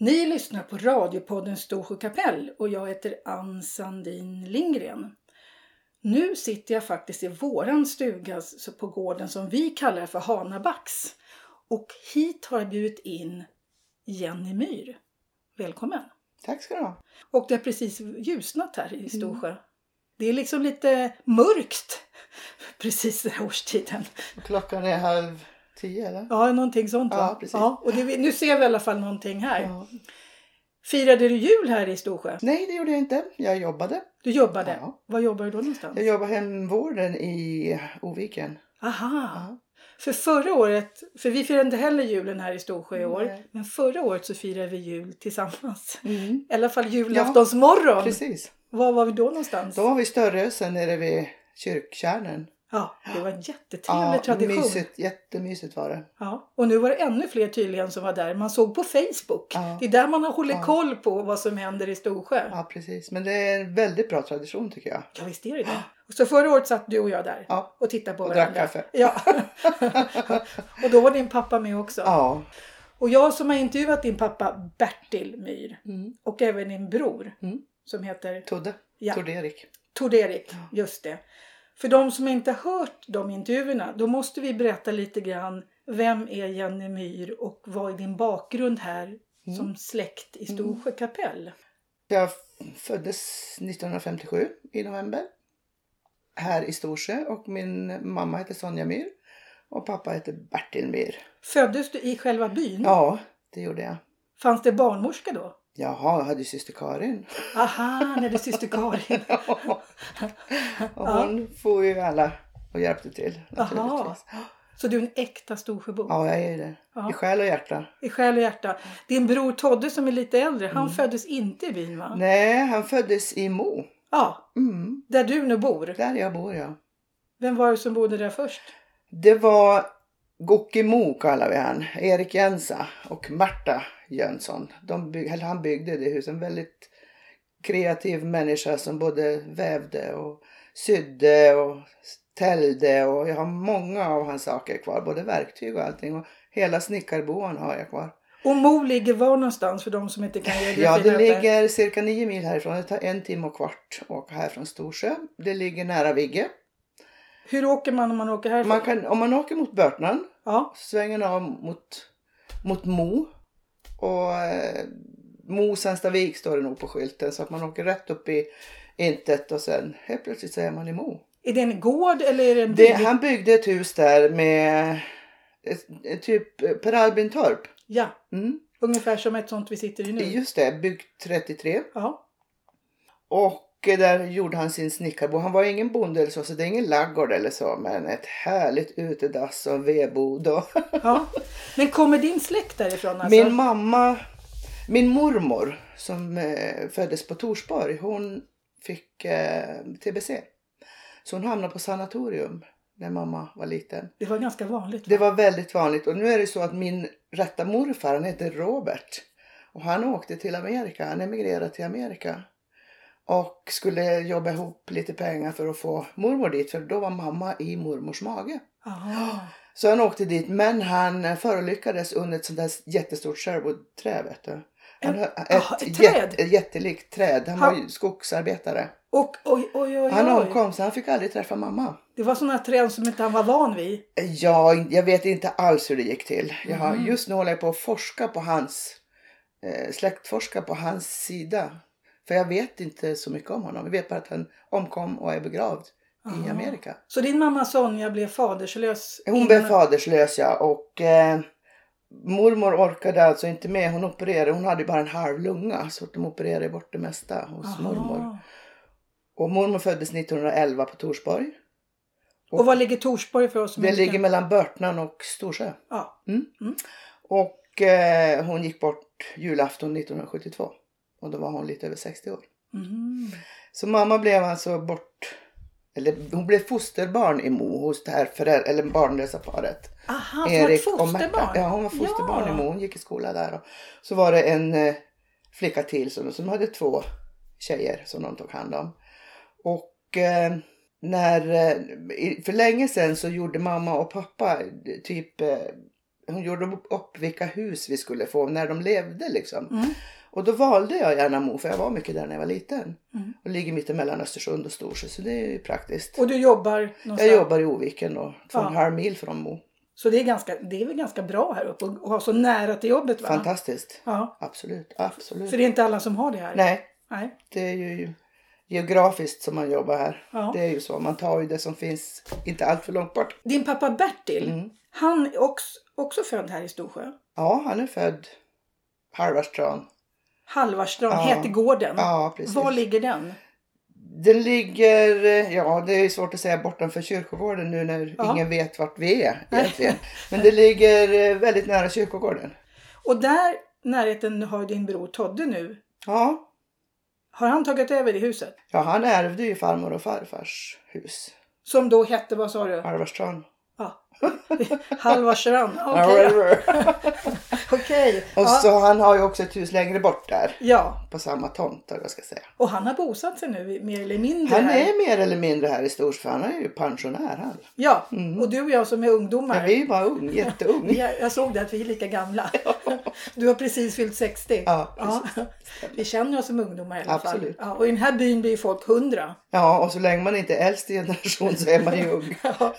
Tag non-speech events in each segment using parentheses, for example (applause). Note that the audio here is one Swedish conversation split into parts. Ni lyssnar på radiopodden Storsjö kapell och jag heter Ann Sandin Lindgren. Nu sitter jag faktiskt i våran stuga så på gården som vi kallar för Hanabacks. Och hit har jag bjudit in Jenny Myhr. Välkommen! Tack ska du ha. Och det har precis ljusnat här i Storsjö. Mm. Det är liksom lite mörkt (laughs) precis den här årstiden. Och klockan är halv tio eller? Ja, någonting sånt va? Ja, precis. och det, nu ser vi i alla fall någonting här. Ja. Firade du jul här i Storsjö? Nej, det gjorde jag inte. Jag jobbade. Du jobbade. Ja. Var jobbar du då någonstans? Jag jobbade hemvården i Oviken. Aha! Ja. För förra året, för vi firar inte heller julen här i Storsjö i år, Nej. men förra året så firade vi jul tillsammans. Mm. I alla fall julaftonsmorgon. Precis. var var vi då någonstans? Då var vi i Störrösen nere vid kyrkkärnen. Ja, det var en jättetrevlig tradition. mysigt. Jättemysigt var det. Ja, och nu var det ännu fler tydligen som var där. Man såg på Facebook. Ja. Det är där man har hållit Ja. koll på vad som händer i Storsjö. Ja, Ja, precis. Men det är en väldigt bra tradition tycker jag. visst är det det. Så förra året satt du och jag där Ja. och tittade på Och drack varandra. kaffe. Ja. (laughs) och då var din pappa med också. Ja. Och jag som har intervjuat din pappa Bertil Myhr Mm. och även din bror Mm. som heter Todde. Ja. Tord-Erik. Tord-Erik. Just det. För de som inte har hört de intervjuerna, då måste vi berätta lite grann vem är Jenny Myhr och vad är din bakgrund här Mm. som släkt i Storsjö kapell? Jag föddes 1957 i november här i Storsjö och min mamma heter Sonja Myhr och pappa heter Bertil Myhr. Föddes du i själva byn? Ja, det gjorde jag. Fanns det barnmorska då? Jaha, jag hade ju syster Karin. (laughs) Aha, när du syster Karin. och hon for ju alla och hjälpte till naturligtvis. Så du är en äkta Storsjöbo? Ja, jag är det. Ja. I själ och hjärta. I själ och hjärta. Din bror Todde som är lite äldre, han föddes inte i byn va? Mm. Nej, han föddes i Mo. Ja, Mm, där du nu bor. där jag bor ja. Vem var det som bodde där först? Det var Gocke Mo kallar vi han, Erik Jensa och Marta Jönsson. De byg, eller han byggde det huset. En väldigt kreativ människa som både vävde och sydde och täljde och jag har många av hans saker kvar, både verktyg och allting. Och hela snickarboan har jag kvar. Och Mo ligger var någonstans för de som inte kan geografi? Ja, där det uppe? ligger cirka nio mil härifrån. Det tar en timme och kvart att åka här från Storsjö. Det ligger nära Vigge. Hur åker man om man åker härifrån? Man kan, om man åker mot Börtnan Ja, svängen av mot, mot Mo. Och eh, Mo Sänstavik står det nog på skylten så att man åker rätt upp i intet och sen helt plötsligt så är man i Mo. är det en gård eller är det en Det, by? han byggde ett hus där med eh, typ eh, Per Albin Torp. Ja, Mm, ungefär som ett sånt vi sitter i nu. just det, byggt 33. Ja, Och eh, där gjorde han sin snickarbo. Han var ingen bonde eller så, så det är ingen laggård eller så. Men ett härligt utedass och vedbod och ja. Men kommer din släkt därifrån alltså? Min mamma, min mormor som eh, föddes på Torsborg, hon fick eh, TBC. Så hon hamnade på sanatorium när mamma var liten. Det var ganska vanligt. va? Det var väldigt vanligt och nu är det så att min rätta morfar, han heter Robert. Och han åkte till Amerika, han emigrerade till Amerika. Och skulle jobba ihop lite pengar för att få mormor dit, för då var mamma i mormors mage. Aha. Så han åkte dit men han förolyckades under ett sånt där jättestort sherwoodträd vet du. Han, En- ett, ah, ett ett, träd? jät- ett jättelikt träd. Han Ha- var ju skogsarbetare. Och oj, oj, oj, Han oj. omkom så han fick aldrig träffa mamma. Det var sådana träd som inte han var van vid. Ja, jag vet inte alls hur det gick till. Jag har, Mm. Just nu håller jag på att forska på hans, eh, släktforska på hans sida. För jag vet inte så mycket om honom. Jag vet bara att han omkom och är begravd i Aha. Amerika. Så din mamma Sonja blev faderslös? Hon innan- blev faderslös ja och eh, mormor orkade alltså inte med. Hon opererade, hon hade ju bara en halv lunga så att de opererade bort det mesta hos Aha. mormor. Och mormor föddes 1911 på Torsborg. Och var ligger Torsborg för oss? som Det inte kan- ligger mellan Börtnan och Storsjö. Ja. Och eh, hon gick bort julafton 1972. Och då var hon lite över 60 år. Mm. Så mamma blev alltså bort, eller hon blev fosterbarn i Mo hos det här föräldrar, eller barnlösa paret. Aha, så Erik hon var och Märta. fosterbarn? Ja, hon var fosterbarn i Mo. Hon gick i skola där. Och så var det en eh, flicka till som, som hade två tjejer som de tog hand om. Och eh, när, eh, i- för länge sedan så gjorde mamma och pappa eh, typ eh, hon gjorde upp vilka hus vi skulle få när de levde liksom. Mm. Och då valde jag gärna Mo för jag var mycket där när jag var liten. Mm. Och ligger mitt emellan Östersund och Storsjö så det är ju praktiskt. Och du jobbar någonstans? Jag jobbar i Oviken då, två och en Ja. halv mil från Mo. Så det är, ganska, det är väl ganska bra här uppe att ha så nära till jobbet va? Fantastiskt. Ja. Absolut, absolut. För det är inte alla som har det här? Nej, Nej. det är ju geografiskt som man jobbar här. Ja. Det är ju så, man tar ju det som finns inte allt för långt bort. Din pappa Bertil, Mm. han är också, också född här i Storsjö? Ja, han är född Halvarstrand. Halvarstrand Ja. hette gården. Ja, precis. Mm. Var ligger den? Den ligger, eh, ja det är svårt att säga bortanför kyrkogården nu när Ja. ingen vet vart vi är egentligen. Men det ligger eh, väldigt nära kyrkogården. Och där närheten har din bror Todde nu. Ja. ja, Har han tagit över det huset? han ärvde ju farmor och farfars hus. Som då hette, vad sa du? Halvarstrand. Ja. (laughs) Halvarstrand. Okej. Okej. (laughs) Och Ja. så han har ju också ett hus längre bort där. ja. På samma tomt eller vad jag ska säga. Och han har bosatt sig nu mer eller mindre Han här. är mer eller mindre här i Storsjö. Han är ju pensionär han. Ja. Mm. Och du och jag som är ungdomar. Men vi är ju bara ung, jätteung. Jag, jag såg det att vi är lika (laughs) gamla. Du har precis fyllt 60. Ja, Ja. Vi känner oss som ungdomar i alla Absolut. fall. Ja, och i den här byn blir ju folk 100. Ja, och så länge man inte är äldst i generation så är man ju ung. Ja.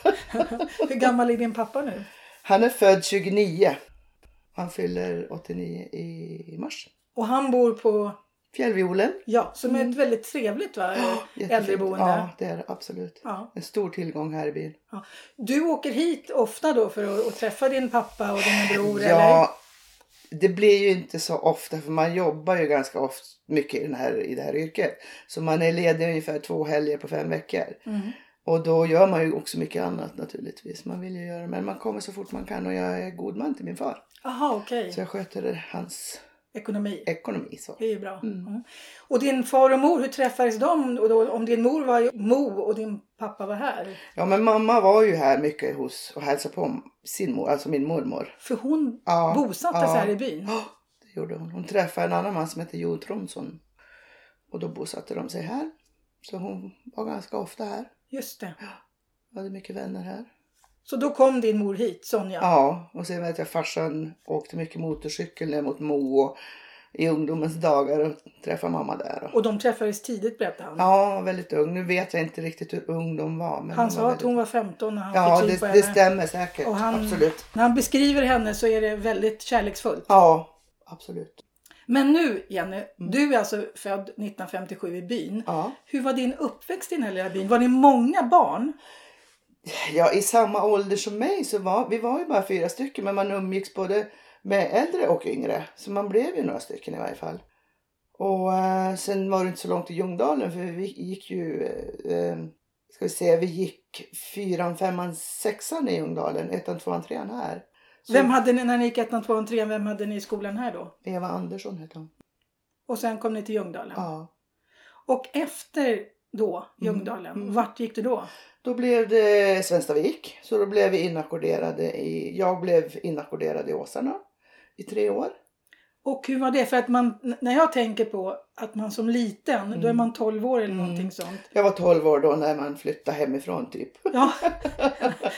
(laughs) Hur gammal är din pappa nu? Han är född 29. Han fyller 89 i mars. Och han bor på, Fjällviolen. ja, som är ett väldigt trevligt va? Mm. Jättefint. äldreboende. Ja, det är det absolut. Ja. En stor tillgång här i byn. Ja. Du åker hit ofta då för att, att träffa din pappa och din bror? Eller? Ja, det blir ju inte så ofta för man jobbar ju ganska ofta mycket i, den här, i det här yrket. Så man är ledig ungefär två helger på fem veckor. Mm. Och då gör man ju också mycket annat naturligtvis. Man vill ju göra men man kommer så fort man kan och jag är god man till min far. Aha, okej. Så jag sköter hans Ekonomi. ekonomi så. Det är ju bra. Mm. Mm. Och din far och mor, hur träffades de? Och då, om din mor var i Mo och din pappa var här? Ja men mamma var ju här mycket hos och hälsade på sin mor, alltså min mormor. För hon Ja, bosatte ja. sig här i byn? Ja, det gjorde hon. Hon träffade en annan man som hette Jo Tromsson. Och då bosatte de sig här. Så hon var ganska ofta här. Just det. Jag hade mycket vänner här. Så då kom din mor hit, Sonja? Ja, och sen vet jag farsan åkte mycket motorcykel ner mot Mo och i ungdomens dagar och träffade mamma där. Och, Och de träffades tidigt berättade han? ja, väldigt ung. Nu vet jag inte riktigt hur ung de var. Men Han de sa var att hon var 15 när han Ja, fick syn det, på det henne. stämmer säkert. Och han- Absolut. När han beskriver henne så är det väldigt kärleksfullt. Ja, absolut. Men nu Jenny, du är alltså född 1957 i byn. Ja. Hur var din uppväxt i den här lilla byn? Var ni många barn? ja, i samma ålder som mig så var vi var ju bara fyra stycken men man umgicks både med äldre och yngre. Så man blev ju några stycken i varje fall. Och eh, sen var det inte så långt till Ljungdalen för vi gick ju, eh, eh, ska vi se, vi gick fyran, femman, sexan i Ljungdalen, ettan, tvåan, trean här. Så Vem hade ni när ni gick ettan, tvåan, trean? Vem hade ni i skolan här då? Eva Andersson hette hon. Och sen kom ni till Ljungdalen. Ja. Och efter då, Ljungdalen, Mm. vart gick du då? Då blev det Svenstavik. Så då blev vi inackorderade i, jag blev inackorderad i Åsarna i tre år. Och hur var det? För att man, n- när jag tänker på att man som liten, då är Mm. man 12 år eller Mm. någonting sånt. Jag var 12 år då när man flyttade hemifrån typ. (laughs) Ja.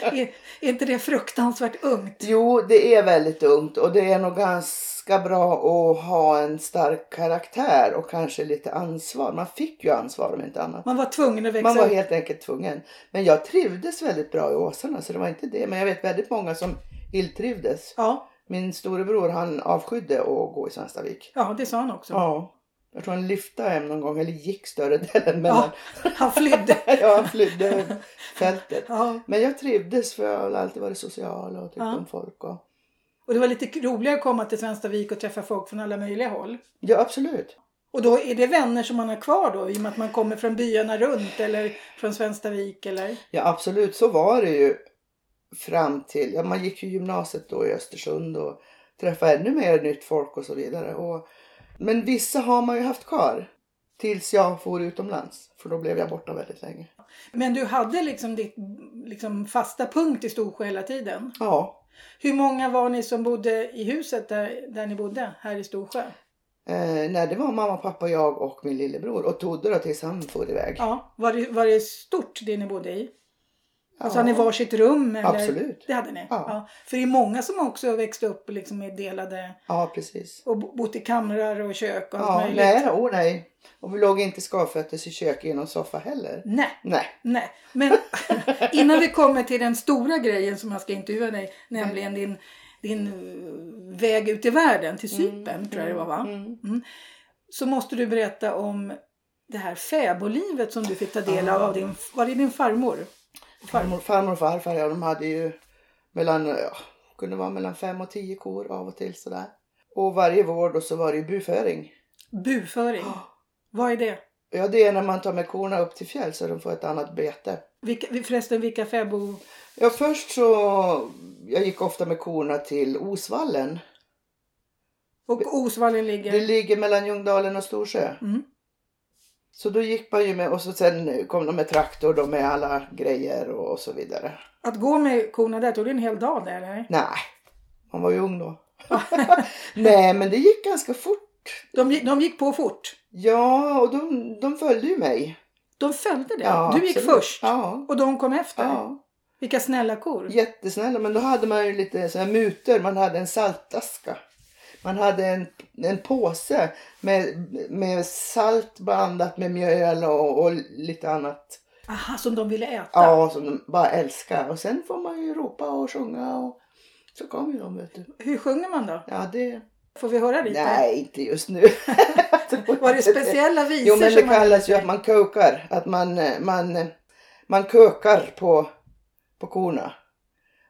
är, är inte det fruktansvärt ungt? Jo, det är väldigt ungt och det är nog ganska bra att ha en stark karaktär och kanske lite ansvar. Man fick ju ansvar om inte annat. Man var tvungen att växa Man var upp. helt enkelt tvungen. Men jag trivdes väldigt bra i Åsarna så det var inte det. Men jag vet väldigt många som illtrivdes. Ja, Min storebror han avskydde att gå i Svenstavik. ja, det sa han också. Ja. Jag tror han lyfte hem någon gång eller gick större (laughs) delen. Men Ja. Han flydde. (laughs) ja, han flydde fältet. Ja. Men jag trivdes för jag har alltid varit social och tyckt Ja. om folk. Och... Och det var lite roligare att komma till Svenstavik och träffa folk från alla möjliga håll. Ja, absolut. Och då är det vänner som man har kvar då i och med att man kommer från byarna runt eller från Svenstavik eller? Ja, absolut. Så var det ju fram till... Ja, man gick ju gymnasiet då i Östersund och träffade ännu mer nytt folk och så vidare. Och, men vissa har man ju haft kvar tills jag for utomlands. För då blev jag borta väldigt länge. Men du hade liksom ditt liksom fasta punkt i Storsjö hela tiden. Ja, Hur många var ni som bodde i huset där, där ni bodde här i Storsjö? eh, nej, det var mamma, pappa, jag och min lillebror. Och Todde då tills han for iväg. Ja, var det, var det stort det ni bodde i? Alltså hade ni varsitt rum? Eller? Absolut. Det hade ni? Ja. För det är många som också växte upp liksom med delade Ja, precis. och bo- bott i kamrar och kök och allt Ja, möjligt. nej, åh nej. Och vi låg inte skavfötters i köket i någon soffa heller. Nej. Nej. Nej, men (laughs) innan vi kommer till den stora grejen som jag ska intervjua dig, nämligen din, din eh, väg ut i världen till Cypern, tror jag det var va? Mm. Så måste du berätta om det här fäbodlivet som du fick ta del av Ah. av din, var det din farmor? Farmor, farmor och farfar, ja, de hade ju mellan, ja, kunde vara mellan fem och tio kor av och till sådär. Och varje vår då så var det ju buföring. Buföring, Ah. vad är det? Ja, det är när man tar med korna upp till fjäll så de får ett annat bete. Vilka, förresten, vilka fäbo... Ja, först så, jag gick ofta med korna till Osvallen. Och Osvallen Det ligger... ligger mellan Ljungdalen och Storsjö. Mm. Så då gick man ju med och så sen kom de med traktor då med alla grejer och, och så vidare. Att gå med korna där, tog det en hel dag där eller? Nej, man var ju (laughs) ung då. Nej, men det gick ganska fort. De, gick- de gick på fort. Ja, och de, de följde ju mig. De följde det. Ja, du gick absolut. först Ja, och de kom efter. ja. Vilka snälla kor. Jättesnälla, men då hade man ju lite så här mutor. Man hade en saltaska. Man hade en, en påse med, med salt blandat med mjöl och, och lite annat. Aha, som de ville äta? Ja, som de bara älskar. Och sen får man ju ropa och sjunga och så kom ju de vet du. Hur sjunger man då? Ja, det... Får vi höra lite? Nej, inte just nu. (laughs) Var det speciella visor Jo, men det som man- kallas ju att man kukar. Att man, eh, man, eh, man kukar på, på korna.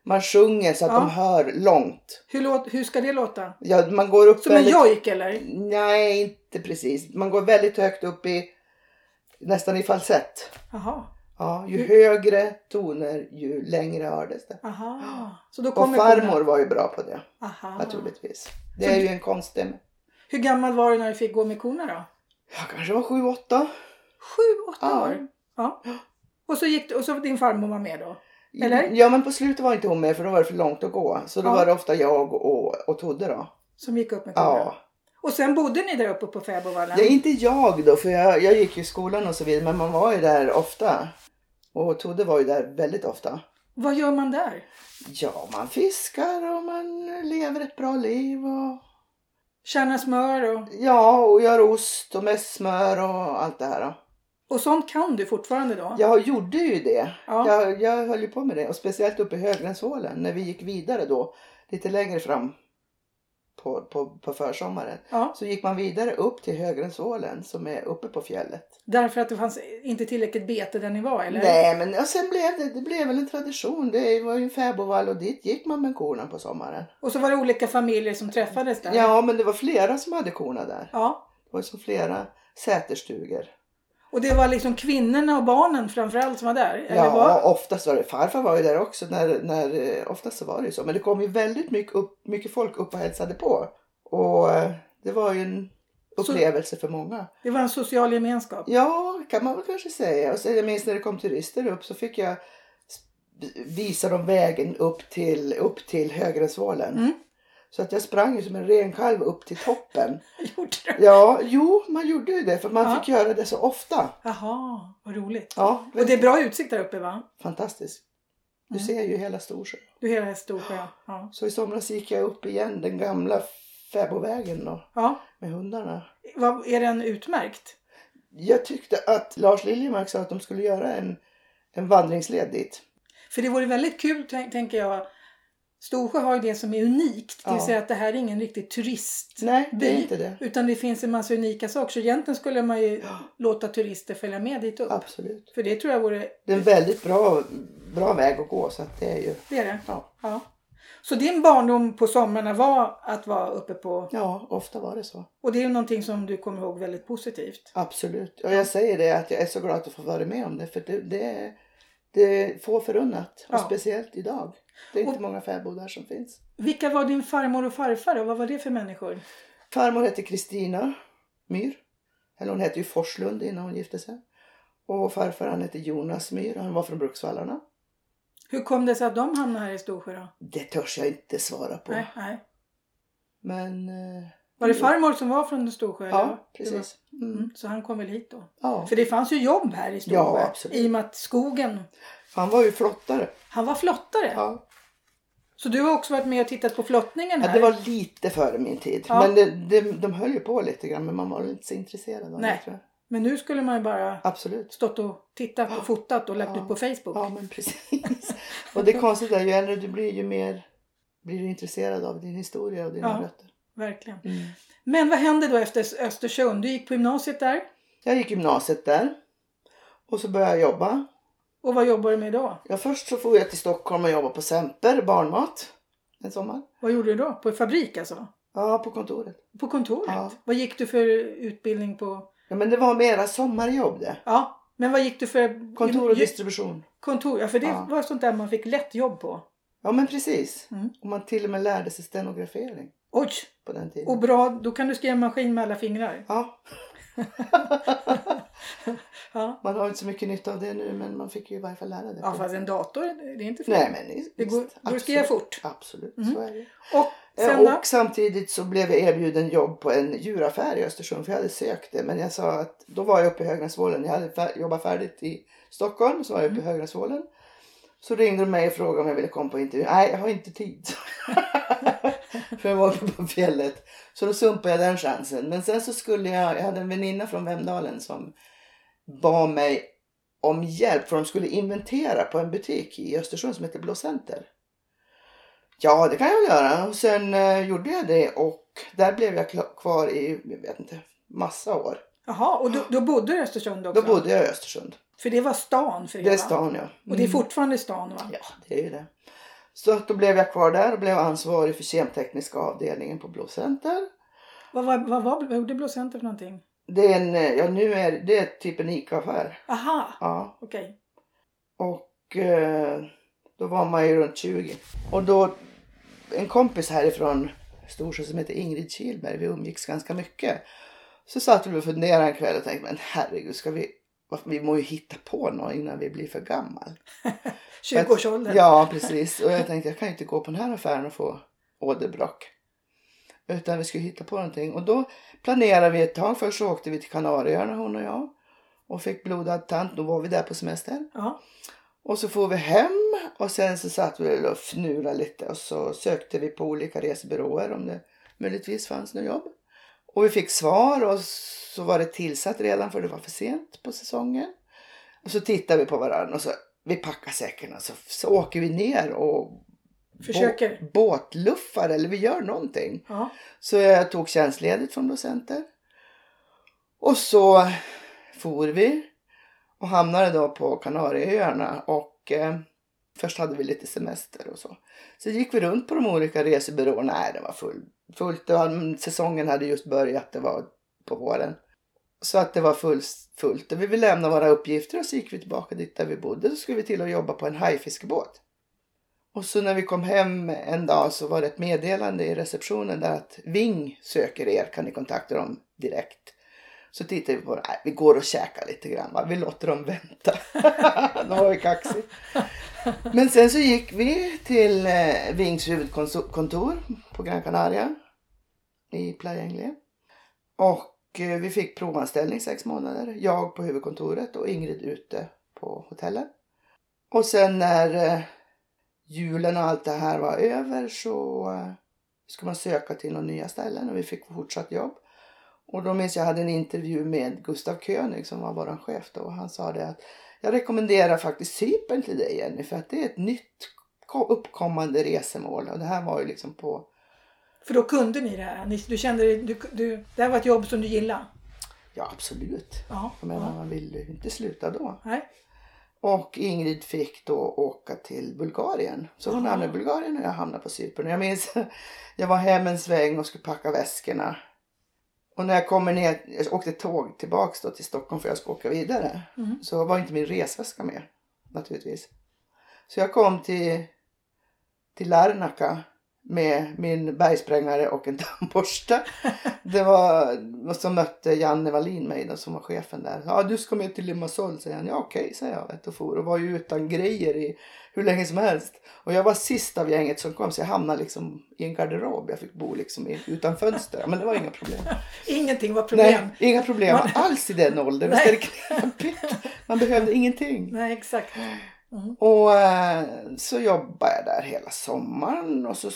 Man sjunger så att Ja. de hör långt. Hur, låt... Hur ska det låta? Ja, man går upp Som en jojk eller? Nej, inte precis. Man går väldigt högt upp i nästan i falsett. Jaha. Ja, Mm. ju högre toner ju längre hördes det. Aha. Så då Och kommer farmor korna. var ju bra på det Aha. naturligtvis. Det Så är du- ju en konststämma. Hur gammal var du när du fick gå med korna då? Jag kanske var sju, åtta. Sju, åtta Ja. år? Ja. Och så, gick... och så din farmor var med då? Eller? Ja men på slutet var inte hon med för då var det för långt att gå. Så då Ja. var det ofta jag och, och Todde då. Som gick upp med korna? Ja. Och sen bodde ni där uppe på fäbodvallen? Det är inte jag då för jag, jag gick ju i skolan och så vidare men man var ju där ofta. Och Todde var ju där väldigt ofta. Vad gör man där? Ja man fiskar och man lever ett bra liv och Kärna smör och... ja och gör ost och mest smör och allt det här. Då. Och sånt kan du fortfarande då? Jag gjorde ju det. Ja. Jag, jag höll ju på med det. Och speciellt uppe i Höglandshålen när vi gick vidare då. Lite längre fram på, på, på försommaren. Ja. Så gick man vidare upp till Höglandshålen som är uppe på fjället. Därför att det fanns inte tillräckligt bete där ni var eller? Nej men och sen blev det, det blev väl en tradition. Det var ju en fäbodvall och dit gick man med korna på sommaren. Och så var det olika familjer som träffades där? Ja men det var flera som hade korna där. Ja. Det var ju så flera säterstugor. Och det var liksom kvinnorna och barnen framförallt som var där? Eller Ja, var? oftast var det. Farfar var ju där också. När, när, eh, oftast så var det ju så. Men det kom ju väldigt mycket, upp, mycket folk upp och hälsade på. Och eh, det var ju en upplevelse för många. Det var en social gemenskap? Ja, kan man väl kanske säga. Och så, jag minns när det kom turister upp så fick jag sp- visa dem vägen upp till, upp till Högrensvalen. Mm. Så att jag sprang ju som en renkalv upp till toppen. (laughs) Gjorde du? Ja, jo, man gjorde ju det för man Ja. fick göra det så ofta. Jaha, vad roligt. Ja, Och det är bra utsikt där uppe va? fantastiskt. Du Mm. ser ju hela Storsjö. Du är hela Storsjö? Ja. Så i somras gick jag upp igen den gamla fäbodvägen då ja. med hundarna. Vad, är den utmärkt? Jag tyckte att Lars Liljemark sa att de skulle göra en, en vandringsled dit. För det vore väldigt kul tänk, tänker jag. Storsjö har ju det som är unikt. Det vill Ja. säga att det här är ingen riktig turist. Nej, det är By. inte det. Utan det finns en massa unika saker. Så egentligen skulle man ju Ja. låta turister följa med dit upp. Absolut. För det tror jag vore... Det är en väldigt bra, bra väg att gå så att det är ju, Det är det. ja. Ja. Så din barndom på somrarna var att vara uppe på... Ja, ofta var det så. Och det är ju någonting som du kommer ihåg väldigt positivt. Absolut. Och jag säger det att jag är så glad att få vara med om det för det, det, är- det är få förunnat och Ja. speciellt idag. Det är inte Och- många fäbodar som finns. Vilka var din farmor och farfar och vad var det för människor? Farmor hette Kristina Myr. Eller hon hette ju Forslund innan hon gifte sig. Och farfar han hette Jonas Myr och han var från Bruksvallarna. Hur kom det sig att de hamnade här i Storsjö då? Det törs jag inte svara på. Nej, nej. Men... eh, Var det farmor som var från Storsjö? eller? Ja, Det precis. var- Mm. Mm, så han kom väl hit då? Ja. För det fanns ju jobb här i Storsjö. Ja, absolut. I och med att skogen Han var ju flottare. Han var flottare. Ja. Så du har också varit med och tittat på flottningen Ja, här? det var lite före min tid. Ja. Men det, det, de höll ju på lite grann men man var inte så intresserad av Nej. det tror jag. Men nu skulle man ju bara Absolut. stått och tittat och fotat och lagt Ja. ut på Facebook. Ja men precis. och det konstiga är ju äldre du blir ju mer blir du intresserad av din historia och dina Ja. rötter. Verkligen. Mm. Men vad hände då efter Östersund? Du gick på gymnasiet där Jag gick gymnasiet där. Och så började jag jobba. och vad jobbar du med idag? Ja, först så for jag till Stockholm och jobbade på Semper barnmat en sommar. Vad gjorde du då? På fabrik alltså? Ja, på kontoret. På kontoret? Ja. Vad gick du för utbildning på? Ja, men det var mera sommarjobb det. Ja, men vad gick du för... Kontor och Ju- distribution. Kontor, ja för det Ja. var sånt där man fick lätt jobb på. Ja, men precis. Mm. Och man till och med lärde sig stenografering Oj! på den tiden. Och bra, då kan du skriva maskin med alla fingrar. Ja, Ja, man har inte så mycket nytta av det nu men man fick ju i varje fall lära det. ja fast en dator, det är inte fel. Nej, men visst, det går, går att skriva fort. Absolut, Mm. så är det. Och Eh, sen och då? samtidigt så blev jag erbjuden jobb på en djuraffär i Östersund för jag hade sökt det. Men jag sa att då var jag uppe i Högnäsvålen. Jag hade fär- jobbat färdigt i Stockholm så var jag uppe i Högnäsvålen. Så ringde de mig och frågade om jag ville komma på intervju. Nej, jag har inte tid. (laughs) för jag var uppe på fjället. Så då sumpade jag den chansen. Men sen så skulle jag, jag hade en väninna från Vemdalen som bad mig om hjälp för de skulle inventera på en butik i Östersund som heter Blå Center. Ja, det kan jag göra. Och sen eh, gjorde jag det och där blev jag kla- kvar i, jag vet inte, massa år. Jaha, och då, då bodde du i Östersund också? Då bodde jag i Östersund. För det var stan för er Det är va? stan ja. Och det är Mm. fortfarande stan va? Ja, det är ju det. Så att då blev jag kvar där och blev ansvarig för kemtekniska avdelningen på Blå Center. Vad, vad, vad, vad, vad gjorde Blå Center för någonting? Det är en, eh, ja nu är det är typ en ICA-affär. Aha, Ja. okej. Och eh, då var man ju runt 20. Och då, en kompis härifrån Storsjö som heter Ingrid Kihlberg, vi umgicks ganska mycket. Så satt vi och funderade en kväll och tänkte, men herregud, ska vi, varför- vi må ju hitta på något innan vi blir för gammal. 20-årsåldern. Ja, precis. Och jag tänkte, jag kan ju inte gå på den här affären och få åderbråck. Utan vi skulle hitta på någonting. Och då planerade vi ett tag. Först så åkte vi till Kanarieöarna hon och jag. Och fick blodad tand. Då var vi där på semester. Ja. Och så får vi hem och sen så satt vi och fnurade lite och så sökte vi på olika resebyråer om det möjligtvis fanns något jobb. Och vi fick svar och så var det tillsatt redan för det var för sent på säsongen. Och så tittade vi på varandra och så vi packar säcken och så, så åker vi ner och Försöker. Bå, båtluffar eller vi gör någonting. Ja. Så jag tog tjänstledigt från docenter. Och så for vi och hamnade då på Kanarieöarna och eh, först hade vi lite semester och så. Så gick vi runt på de olika resebyråerna. Nej, det var full, fullt. Det var, säsongen hade just börjat, det var på våren. Så att det var full, fullt. Och vi ville lämna våra uppgifter och så gick vi tillbaka dit där vi bodde. Så skulle vi till och jobba på en hajfiskebåt. Och så när vi kom hem en dag så var det ett meddelande i receptionen där att Ving söker er, kan ni kontakta dem direkt? Så tittade vi på det, Nej, vi går och käkar lite grann, va? vi låter dem vänta. (laughs) Då var vi kaxig. Men sen så gick vi till eh, Vings huvudkontor på Gran Canaria i Playa Inglés. Och eh, vi fick provanställning sex månader. Jag på huvudkontoret och Ingrid ute på hotellet. Och sen när eh, julen och allt det här var över så eh, ska man söka till några nya ställen och vi fick fortsatt jobb. Och då minns jag hade en intervju med Gustav König som var vår chef då och han sa det att jag rekommenderar faktiskt Cypern till dig Jenny för att det är ett nytt ko- uppkommande resemål och det här var ju liksom på För då kunde ni det här. Ni, du kände, dig- du, du, det här var ett jobb som du gillade. ja absolut. Ja. Jag menar ja. man vill ju inte sluta då. Nej. Och Ingrid fick då åka till Bulgarien. Så hon Ah. hamnade i Bulgarien och jag hamnade på Cypern. Och Jag minns, jag var hem en sväng och skulle packa väskorna. Och när jag kommer ner, jag åkte tåg tillbaks då till Stockholm för jag skulle åka vidare. Mm. Så var inte min resväska med naturligtvis. Så jag kom till, till Larnaca med min bergsprängare och en tandborste. Det var, och så mötte Janne Wallin mig då, som var chefen där. Ja du ska med till Limassol säger han. Ja okej säger jag vet, och for. Och var ju utan grejer i hur länge som helst. Och jag var sist av gänget som kom så jag hamnade liksom i en garderob. Jag fick bo liksom i, utan fönster. Men det var (laughs) inga problem. Ingenting var problem. Nej, Nej, inga problem Man- alls i den åldern. Visst är det knepigt? Man behövde ingenting. exakt. Mm. Och eh, så jobbade jag där hela sommaren och så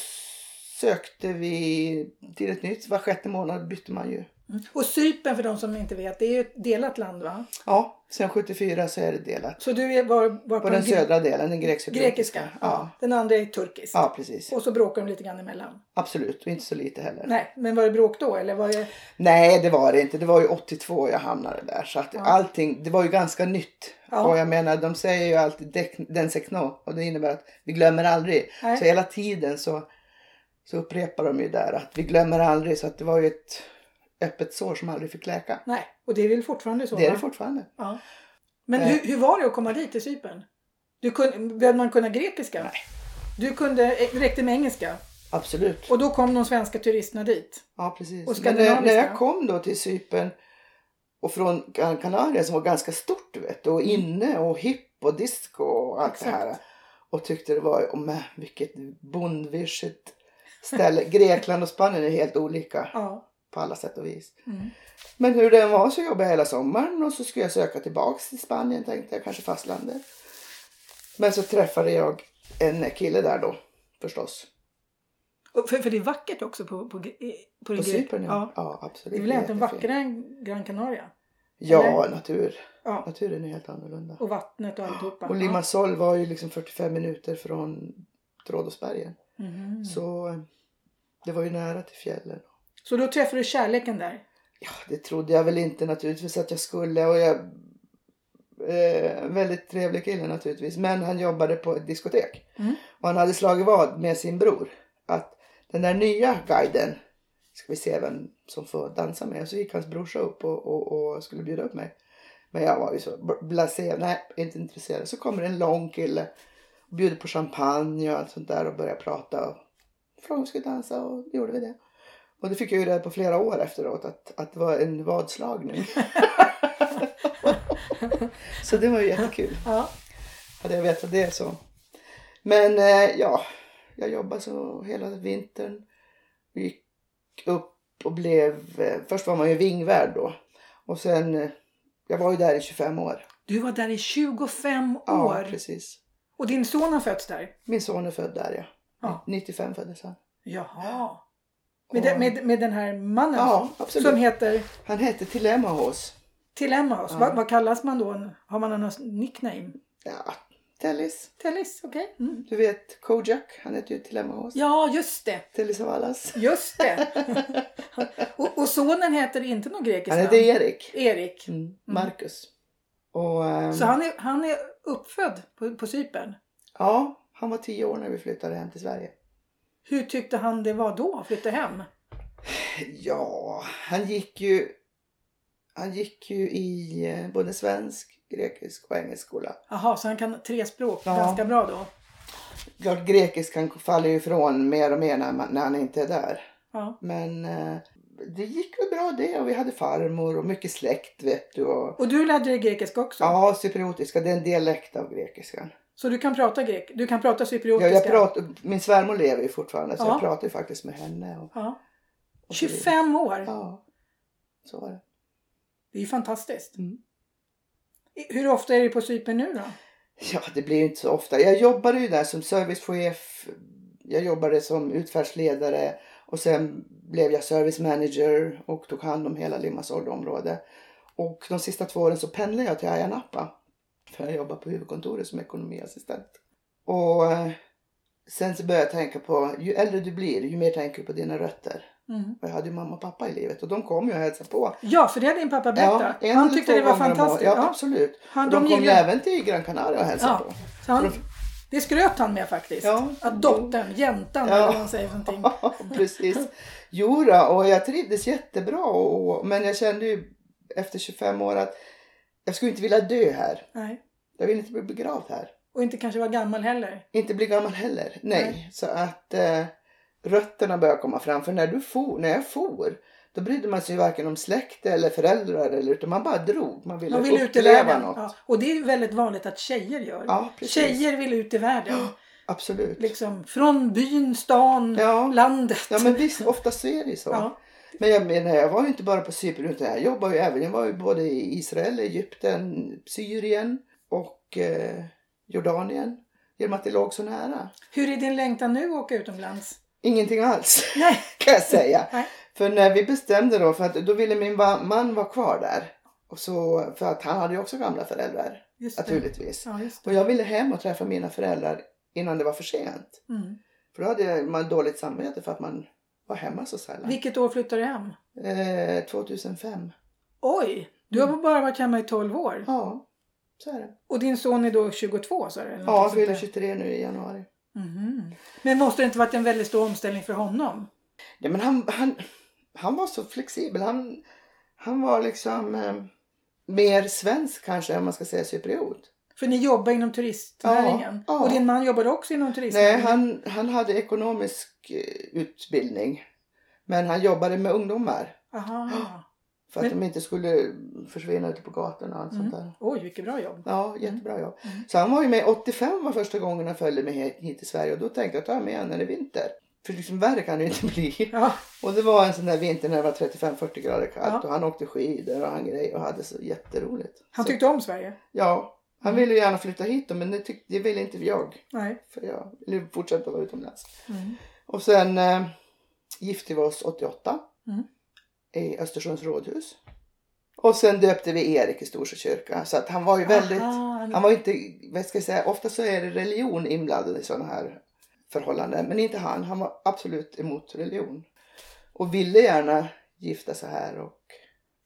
sökte vi till ett nytt. Var sjätte månad bytte man ju. Mm. Och Cypern för de som inte vet, det är ju ett delat land va? Ja, sen 74 så är det delat. Så du är var, var På den gre- södra delen, den grekiska. grekiska. Ja. Den andra är turkisk. ja, precis. Och så bråkar de lite grann emellan. Absolut, och inte så lite heller. Nej, men var det bråk då eller var det... Nej, det var det inte. Det var ju 82 jag hamnade där. Så att Ja. allting, det var ju ganska nytt. Ja. Och jag menar, de säger ju alltid dec- den sekno och det innebär att vi glömmer aldrig. Nej. Så hela tiden så, så upprepar de ju där att vi glömmer aldrig. Så att det var ju ett öppet sår som aldrig fick läka. Nej, och det är väl fortfarande så? Det är va? det fortfarande. Ja. Men Eh. hur, hur var det att komma dit till Cypern? Du kunde, behövde man kunna grekiska? Nej. Du kunde, eh, räckte med engelska? Absolut. Och då kom de svenska turisterna dit? Ja, precis. Och Men när, när skandinaviska. jag kom då till Cypern och från Gran Canaria som var ganska stort du vet och inne och hipp och disco och allt det här. Mm. Exakt. Och tyckte det var, oh, men, vilket bondvischigt ställe. (laughs) Grekland och Spanien är helt olika Ja. på alla sätt och vis. Mm. Men hur den var så jobbade jag hela sommaren och så skulle jag söka tillbaks till Spanien tänkte jag, kanske fastlandet. Men så träffade jag en kille där då förstås. Och för, för det är vackert också på, på, gre- eh, på, det gre- På Cypern ja. ja. ja absolut. Det är väl egentligen Jättefint. vackrare än Gran Canaria? Ja, eller? natur. Ja. Naturen är helt annorlunda. Och vattnet och alltihopa? Och Limassol var ju liksom 45 minuter från Trådåsbergen. Ja. Mhm. så. Så eh, det var ju nära till fjällen. då träffade du kärleken där? Ja, det trodde jag väl inte naturligtvis att jag skulle. Och jag, eh, väldigt trevlig kille naturligtvis. Men han jobbade på ett diskotek. Mm. Och han hade slagit vad med sin bror. Att den där nya guiden, ska vi se vem som får dansa med. Så gick hans brorsa upp och, och, och skulle bjuda upp mig. Men jag var ju så bl- blasé, nej inte intresserad. Så kommer en lång kille och bjuder på champagne och allt sånt där och börjar prata. Och frågade om vi skulle dansa och då gjorde vi det. Och det fick jag ju reda på flera år efteråt att, att det var en vadslagning. så det var ju jättekul. Ja. Hade jag vetat det så. Men eh, ja, jag jobbade så hela vintern. Vi gick upp och blev, eh, först var man ju vingvärd då. Och sen, eh, jag var ju där i 25 år. Du var där i 25 Ja, år precis. och din son har fötts där? Min son är född där ja. Ja. 95 föddes han. Jaha. Med, Och- den- med, med den här mannen Ja, som- absolut. som heter Han hette Telemahos. Telemahos. Ja. Vad, vad kallas man då? Har man någon nickname? Ja, Tellis. Tellis, okej. Mm. Du vet Kojak, han heter ju Telemahos. Ja, just det. Tellis Savalas. Just det. (laughs) och, och sonen heter inte någon grekiskt Han heter namn? Erik. Erik. Mm. Marcus. Och, ehm, Så han är, han är uppfödd på, på Cypern. Ja, han var tio år när vi flyttade hem till Sverige. Hur tyckte han det var då att flytta hem? Ja, han gick ju... Han gick ju i eh, både svensk, grekisk och engelsk skola. Jaha, så han kan tre språk Ja. ganska bra då? Klart grekisk kan faller ju ifrån mer och mer när, man, när han inte är där. Ja. Men eh, det gick väl bra det och vi hade farmor och mycket släkt vet du. Och, Och du lärde dig grekiska också? ja, cypriotiska det är en dialekt av grekiskan. Så du kan prata grek? Du kan prata cypriotiska? Jag, jag pratar, min svärmor lever ju fortfarande så Ja. jag pratar ju faktiskt med henne. Och, Ja. och så vidare. 25 år? Ja, så var det. Det är ju fantastiskt. Mm. I- Hur ofta är du på Cypern nu då? Ja, det blir ju inte så ofta. Jag jobbade ju där som servicechef. Jag jobbade som utfärdsledare och sen blev jag service manager och tog hand om hela Limassol område. Och de sista två åren så pendlade jag till Ayia Napa. För jag jobbade på huvudkontoret som ekonomiassistent. Och eh, sen så började jag tänka på, ju äldre du blir ju mer tänker du på dina rötter. Mm. Och jag hade ju mamma och pappa i livet och de kom ju och hälsade på. Ja, för det hade din pappa berättat. en han eller tyckte två det var gånger om året. fantastiskt. Ja, Ja. absolut. Han, Och de de kom ju gillade, även till Gran Canaria och hälsade Ja. på. så han, det skröt han med faktiskt. Ja. Att dottern, jäntan Ja. eller vad man säger för någonting. (laughs) Ja, precis. Jodå, och jag trivdes jättebra. Och, och, men jag kände ju efter 25 år att jag skulle inte vilja dö här. Nej. Jag vill inte bli begravd här. Och inte kanske var gammal heller. Inte bli gammal heller. Nej. Nej. Så att eh, rötterna börjar komma fram. För när, du for, när jag for, då brydde man sig ju varken om släkt eller föräldrar. Eller, utan man bara drog. Man ville Man vill ut i uppleva världen. något. Ja, Ja. Och det är ju väldigt vanligt att tjejer gör. precis. tjejer vill ut i världen. Absolut. Liksom, från byn, stan, Ja. landet. ja, men visst. Oftast så är det ju så. Ja. Men jag menar, jag var ju inte bara på Cypern utan jag jobbade ju även. Jag var ju både i Israel, Egypten, Syrien och eh, Jordanien genom att det låg så nära. Hur är din längtan nu att åka utomlands? (laughs) Ingenting alls (laughs) Nej. kan jag säga. Nej. För när vi bestämde då, för att då ville min va- man vara kvar där. Och så, för att han hade ju också gamla föräldrar Just det. naturligtvis. Ja, just det. Och jag ville hem och träffa mina föräldrar innan det var för sent. Mm. För då hade jag- man dåligt samvete för att man var hemma så sällan. Vilket år flyttade du hem? Eh, 2005. Oj! Du Mm. har bara varit hemma i 12 år. Ja, så är det. Och din son är då 22 sa du? eller något Ja, sånt fyller där? 23 nu i januari. Mhm. Men måste det inte varit en väldigt stor omställning för honom? Ja, men han, han, han var så flexibel. Han, han var liksom eh, mer svensk kanske än man ska säga cypriot. För ni jobbar inom turistnäringen. Ja, ja. Och din man jobbade också inom turistnäringen. Nej, han, han hade ekonomisk eh, utbildning. Men han jobbade med ungdomar. Aha. För att Men- de inte skulle försvinna ute på gatorna och allt sånt där. Oj, vilket bra jobb. Ja, jättebra jobb. Mm. Så han var ju med 85 var första gången han följde med hit- hit till Sverige och då tänkte jag ta med honom när det är vinter. För liksom värre kan det ju inte bli. Ja, Och det var en sån där vinter när det var 35-40 grader kallt Ja. och han åkte skidor och han grejer och hade så jätteroligt. han så, tyckte om Sverige? Ja, han Mm. ville ju gärna flytta hit då, men det, tyck, det ville inte jag. Nej. För jag ville fortsätta vara utomlands. Mm. Och sen eh, gifte vi oss 88 Mm. i Östersunds rådhus. Och sen döpte vi Erik i Storsjö kyrka. Så att han var ju väldigt... Aha, Han var ju inte, vad ska jag säga, ofta så är det religion inblandad i sådana här förhållanden. Men inte han, han var absolut emot religion. Och ville gärna gifta sig här. Och...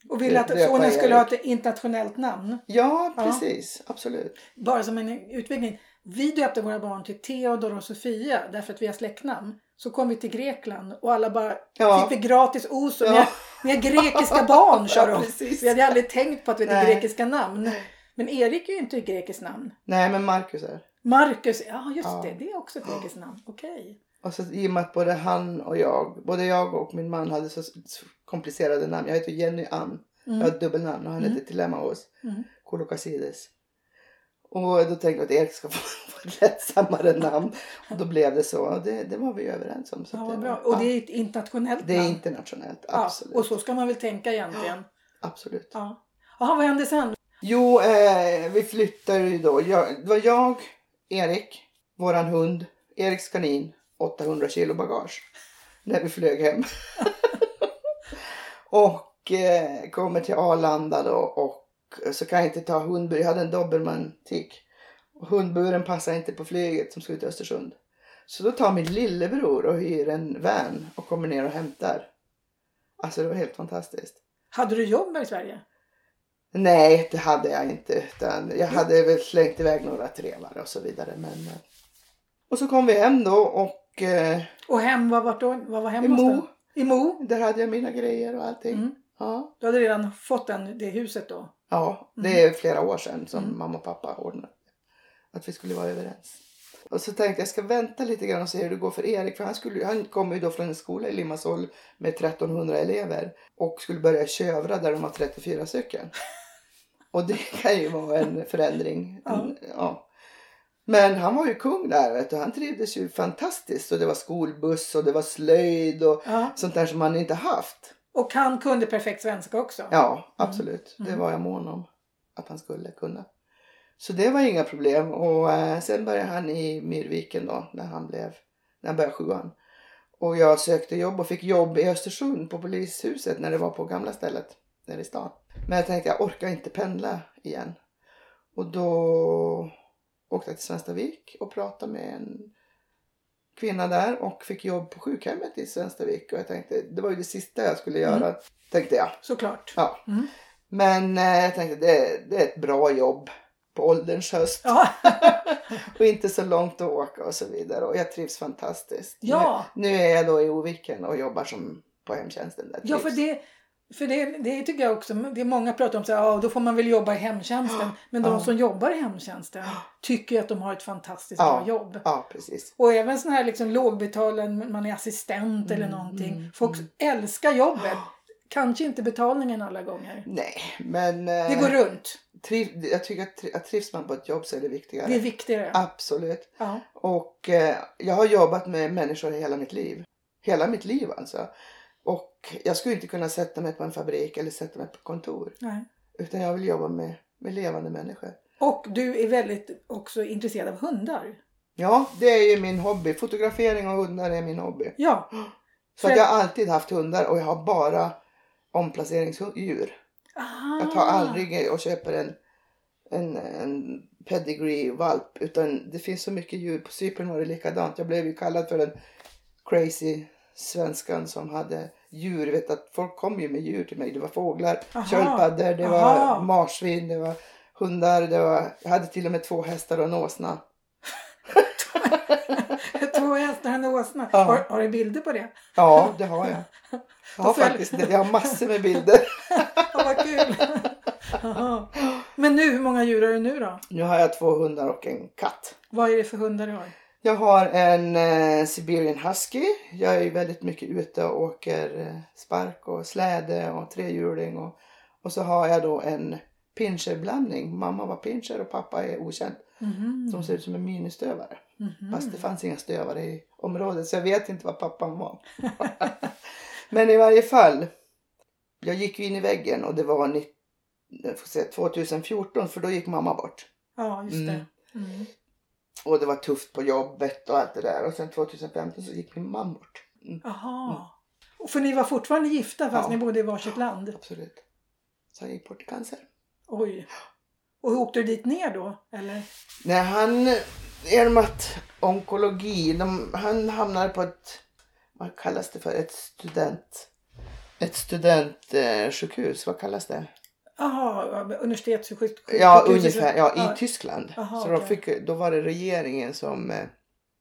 och ville att döpa sonen skulle Erik. ha ett internationellt namn. Ja, Ja. precis, absolut. Bara som en utveckling. Vi döpte våra barn till Theodor och Sofia därför att vi har släktnamn. Så kom vi till Grekland och alla bara Ja, fick vi gratis os. och Ni, Ja. har, ni har grekiska barn sa Ja, (laughs) de. precis. Vi hade aldrig tänkt på att vi hade Nej. grekiska namn. Men Erik är ju inte ett grekiskt namn. Nej, men Marcus är. Marcus, ja just Ja. det, det är också ett grekiskt namn. Okej. Och så i och med att både han och jag, både jag och min man hade så så komplicerade namn. Jag heter Jenny Ann. Jag har Mm. ett dubbelnamn och han Mm. heter Telemahos Mm. Kolokasides. Och då tänkte jag att Erik ska (laughs) få få ett lättsammare namn. Och då blev det så. Och det, det var vi överens om. Så Ja, att vad det, bra. var- Och det ja, är ett internationellt det är namn. internationellt. Ja, Absolut. och så ska man väl tänka egentligen. absolut. Ja. Jaha, vad hände sen? Jo, eh, vi flyttade ju då. Jag, det var jag, Erik, våran hund, Eriks kanin, 800 kilo bagage. När vi flög hem. (laughs) och eh, kommer till Arlanda då och så kan jag inte ta hundbur. Jag hade en dobermann tick. Och hundburen passar inte på flyget som ska ut till Östersund. Så då tar min lillebror och hyr en van och kommer ner och hämtar. Alltså det var helt fantastiskt. Hade du jobb här i Sverige? Nej, det hade jag inte. Utan Mm. jag hade väl slängt iväg några trevar och så vidare. Men... eh. Och så kom vi hem då och eh, Och hem, vad var, då, vad var hem i Mo, någonstans? I Mo? där hade jag mina grejer och allting. Mm. Ja, Du hade redan fått den, det huset då? ja, Mm. det är flera år sedan som Mm. mamma och pappa ordnade att vi skulle vara överens. Och så tänkte jag, jag ska vänta lite grann och se hur det går för Erik. För han, skulle, han kom ju då från en skola i Limassol med 1300 elever och skulle börja kövra där de har 34 stycken. Och det kan ju vara en förändring. En, ja. Men han var ju kung där vet du. Han trivdes ju fantastiskt. Och det var skolbuss och det var slöjd och Ja. sånt där som han inte haft. Och han kunde perfekt svenska också? Ja, absolut. Mm. Det var jag mån om att han skulle kunna. Så det var inga problem. Och eh, sen började han i Myrviken då när han blev, när han började sjuan. Och jag sökte jobb och fick jobb i Östersund på polishuset när det var på gamla stället nere i stan. Men jag tänkte jag orkar inte pendla igen. Och då åkte jag till Svenstavik och pratade med en kvinna där och fick jobb på sjukhemmet i Svenstavik. Och jag tänkte det var ju det sista jag skulle Mm. göra tänkte jag. Såklart. Ja. Mm. Men eh, jag tänkte det, det är ett bra jobb på ålderns höst Ja. och inte så långt att åka och så vidare. Och jag trivs fantastiskt. ja. Nu, nu är jag då i Oviken och jobbar som på hemtjänsten. Där Ja, för trivs. det, för det, det tycker jag också. Det är många pratar om så här, ja, då får man väl jobba i (gasps) hemtjänsten. Men de Ja. som jobbar i (gasps) hemtjänsten tycker ju att de har ett fantastiskt Ja. bra jobb. Ja, precis. Och även sådana här liksom lågbetalade, man är assistent eller Mm, någonting. mm, Folk älskar jobbet. Kanske inte betalningen alla gånger. Nej, men eh, Det går runt. triv, jag tycker att, tri, att trivs man på ett jobb så är det viktigare. Det är viktigare. Absolut. Ja. Och eh, jag har jobbat med människor hela mitt liv. Hela mitt liv alltså. Och jag skulle inte kunna sätta mig på en fabrik eller sätta mig på ett kontor. Nej. Utan jag vill jobba med, med levande människor. Och du är väldigt också intresserad av hundar. Ja, det är ju min hobby. Fotografering av hundar är min hobby. Ja, (gasps) Så att jag har alltid haft hundar och jag har bara omplaceringsdjur. Aha. Jag tar aldrig och köper en, en, en pedigree-valp. Utan det finns så mycket djur. På Cypern var det likadant. Jag blev ju kallad för den crazy svenskan som hade djur. Jag vet att folk kom ju med djur till mig. Det var fåglar, Aha. (laughs) köldpaddor, det var Aha. marsvin, det var hundar. Det var... Jag hade till och med två hästar och en åsna. Två hästar och en åsna. Ja. Har, har du bilder på det? Ja, det har jag. Jag har Då följ- faktiskt det. Jag har massor (laughs) med bilder. Ja, vad kul! Jaha. (laughs) Men nu, hur många djur har du nu då? Nu har jag två hundar och en katt. Vad är det för hundar du har? Jag har en eh, Siberian Husky. Jag är ju väldigt mycket ute och åker eh, spark och släde och trehjuling. Och, och så har jag då en pinscherblandning. Mamma var pinscher och pappa är okänd. Mhm. De ser ut Mm-hmm. som en ministövare. Mhm. Fast det fanns inga stövare i området så jag vet inte vad pappan var. (laughs) Men i varje fall. Jag gick ju in i väggen och det var ni- jag får se, 2014 för då gick mamma bort. Ja, just Mm. det. Mm. Och det var tufft på jobbet och allt det där. Och sen 2015 så gick min man bort. Mm, Aha. Och För ni var fortfarande gifta fast Ja. ni bodde i varsitt land? absolut. Så han gick bort i cancer. Oj. Och hur åkte du dit ner då? Eller? Nej, han... Genom att onkologi... De, han hamnade på ett... Vad kallas det för? Ett student... Ett studentsjukhus. Eh, sjukhus. vad kallas det? Jaha, universitetssjukhus? Ja, sjukhus- ungefär. Ja, i Tyskland. Aha, så de okej. fick, då var det regeringen som, eh,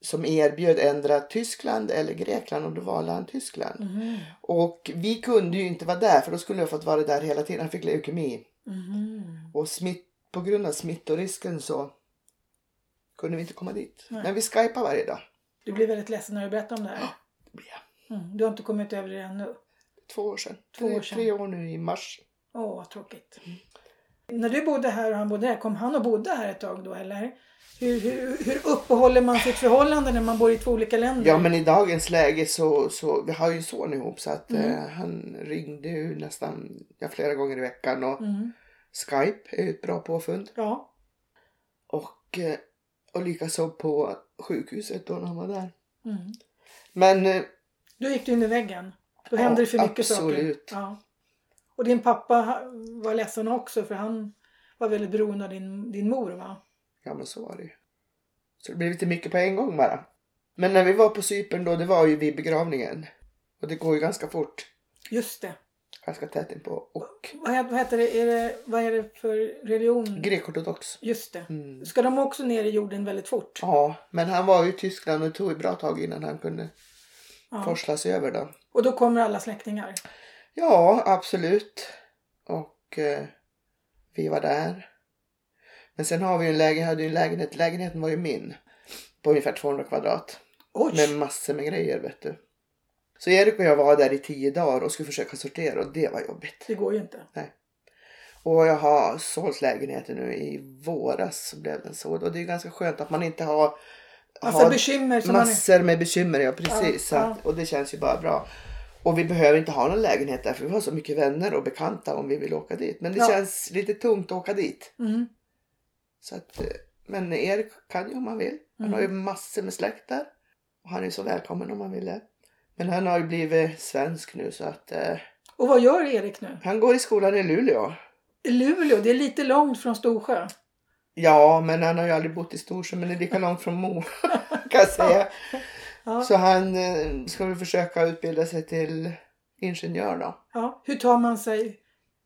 som erbjöd ändra Tyskland eller Grekland och då valde han Tyskland. Mhm. Och vi kunde ju inte vara där för då skulle jag fått vara där hela tiden. Han fick leukemi. Mhm. Och smitt, på grund av smittorisken så kunde vi inte komma dit. Nej. Men vi skypar varje dag. Du blir väldigt ledsen när du berättar om det här. Det blir jag. Mm. Du har inte kommit över det ännu. Två år sedan. Två tre, år sedan. tre år nu i mars. Åh, vad tråkigt. När du bodde här och han bodde här, kom han och bodde här ett tag då eller? Hur, hur, hur uppehåller man sitt förhållande när man bor i två olika länder? Ja men i dagens läge så, så vi har ju en son ihop så att Mm. eh, han ringde ju nästan ja, flera gånger i veckan och Mm. Skype är ju ett bra påfund. Ja. Och, eh, och likaså på sjukhuset då när han var där. Mm. Men eh, Då gick du in i väggen. Då Ja, hände det för mycket absolut. saker. Ja. Och din pappa ha- var ledsen också för han var väldigt beroende av din, din mor va? Ja men så var det ju. Så det blev lite mycket på en gång bara. Men när vi var på Cypern då, det var ju vid begravningen. Och det går ju ganska fort. Just det. Ganska tätt inpå. Och Vad, he- vad heter det? Är det? Vad är det för religion? grekortodox. Just det. Mm. Ska de också ner i jorden väldigt fort? Ja, men han var ju i Tyskland och det tog ett bra tag innan han kunde Ja. forslas över då. Och då kommer alla släktingar? Ja, absolut. Och eh, vi var där. Men sen har vi ju en lägenhet, hade ju en lägenhet. Lägenheten var ju min. På ungefär 200 kvadrat. Oj! Med massor med grejer vet du. Så Erik och jag var där i tio dagar och skulle försöka sortera och det var jobbigt. Det går ju inte. Och jag har sålt lägenheten nu i våras så blev den såld. Och det är ganska skönt att man inte har, Massa har bekymmer som man... massor med bekymmer. Ja precis. Ja, så att, Och det känns ju bara bra. Och vi behöver inte ha någon lägenhet där för vi har så mycket vänner och bekanta om vi vill åka dit. Men det Ja. känns lite tungt att åka dit. Mm. Så att, eh, men Erik kan ju om han vill. Han Mm. har ju massor med släkt där. Och han är så välkommen om han ville. Men han har ju blivit svensk nu så att eh, Och vad gör Erik nu? han går i skolan i Luleå. I Luleå, det är lite långt från Storsjö. Ja, men han har ju aldrig bott i Storsjö men det är lika långt från Mo (laughs) kan jag säga. Ja. Så han eh, ska väl försöka utbilda sig till ingenjör då. Ja. Hur tar man sig...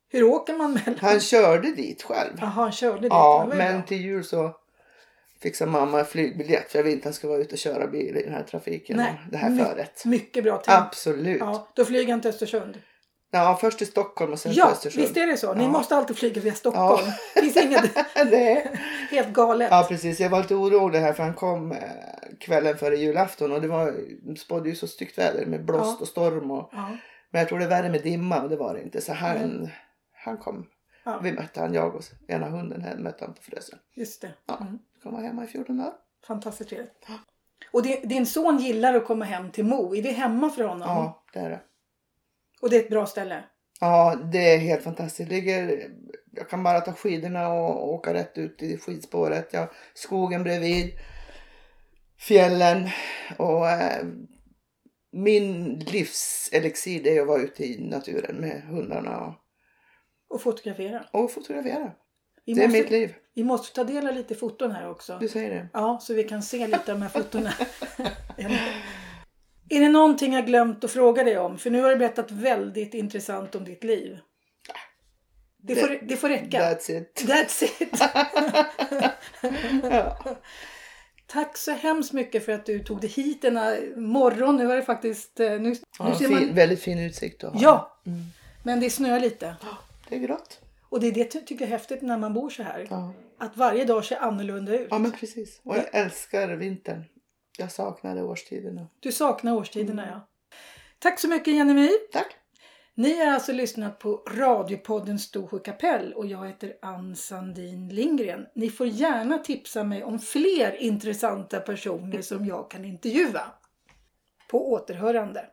Hur åker man mellan... Han körde dit själv. Jaha, han körde dit. Ja, Det var ju men bra. till jul så fixar mamma en flygbiljett för jag vill inte han ska vara ute och köra bil i den här trafiken. Nej, det här mycket föret. Mycket bra tänkt. Absolut. Ja, då flyger han till Östersund. Ja, först till Stockholm och sen till Ja, Östersund. visst är det så. Ni Ja. måste alltid flyga via (laughs) Stockholm. Det finns inget det. helt galet. Ja, precis. Jag var lite orolig här för han kom eh, kvällen före julafton och det var, spådde ju så styggt väder med blåst Ja. och storm. Och, Ja, men jag tror det är värre med dimma och det var det inte. Så han, Mm. han kom. Ja. Vi mötte han, jag och ena hunden här, mötte han på Frösön. just det. Ja. Mm. Han var hemma i 14 dagar. Fantastiskt trevligt. Och din, din son gillar att komma hem till Mo. Är det hemma för honom? Ja, det är det. Och det är ett bra ställe? Ja, det är helt fantastiskt. Jag, ligger, jag kan bara ta skidorna och åka rätt ut i skidspåret. Jag, skogen bredvid, fjällen och eh, min livselixir det är att vara ute i naturen med hundarna Och fotografera. och, och fotografera. Vi, det är måste, mitt liv. vi måste ta del av lite foton här också. Du säger det. Ja, så vi kan se lite av de här fotona. (laughs) är det någonting jag glömt att fråga dig om? För nu har du berättat väldigt intressant om ditt liv. Det får, det får räcka. That's it. That's it. (laughs) ja. Tack så hemskt mycket för att du tog dig hit denna morgon. Nu är det faktiskt... eh, Nu, nu Ja, ser fin, man, Väldigt fin utsikt du har. ja, Mm. men det snöar lite. Det är grått. Och det är det ty- tycker jag är häftigt när man bor så här. Ja. Att varje dag ser annorlunda ut. ja, men precis. Och jag älskar vintern. Jag saknade årstiderna. Du saknar årstiderna, Mm. ja. Tack så mycket, Jenny My. Tack. Ni har alltså lyssnat på radiopodden Storsjö kapell och jag heter Ann Sandin Lindgren. Ni får gärna tipsa mig om fler intressanta personer som jag kan intervjua. På återhörande.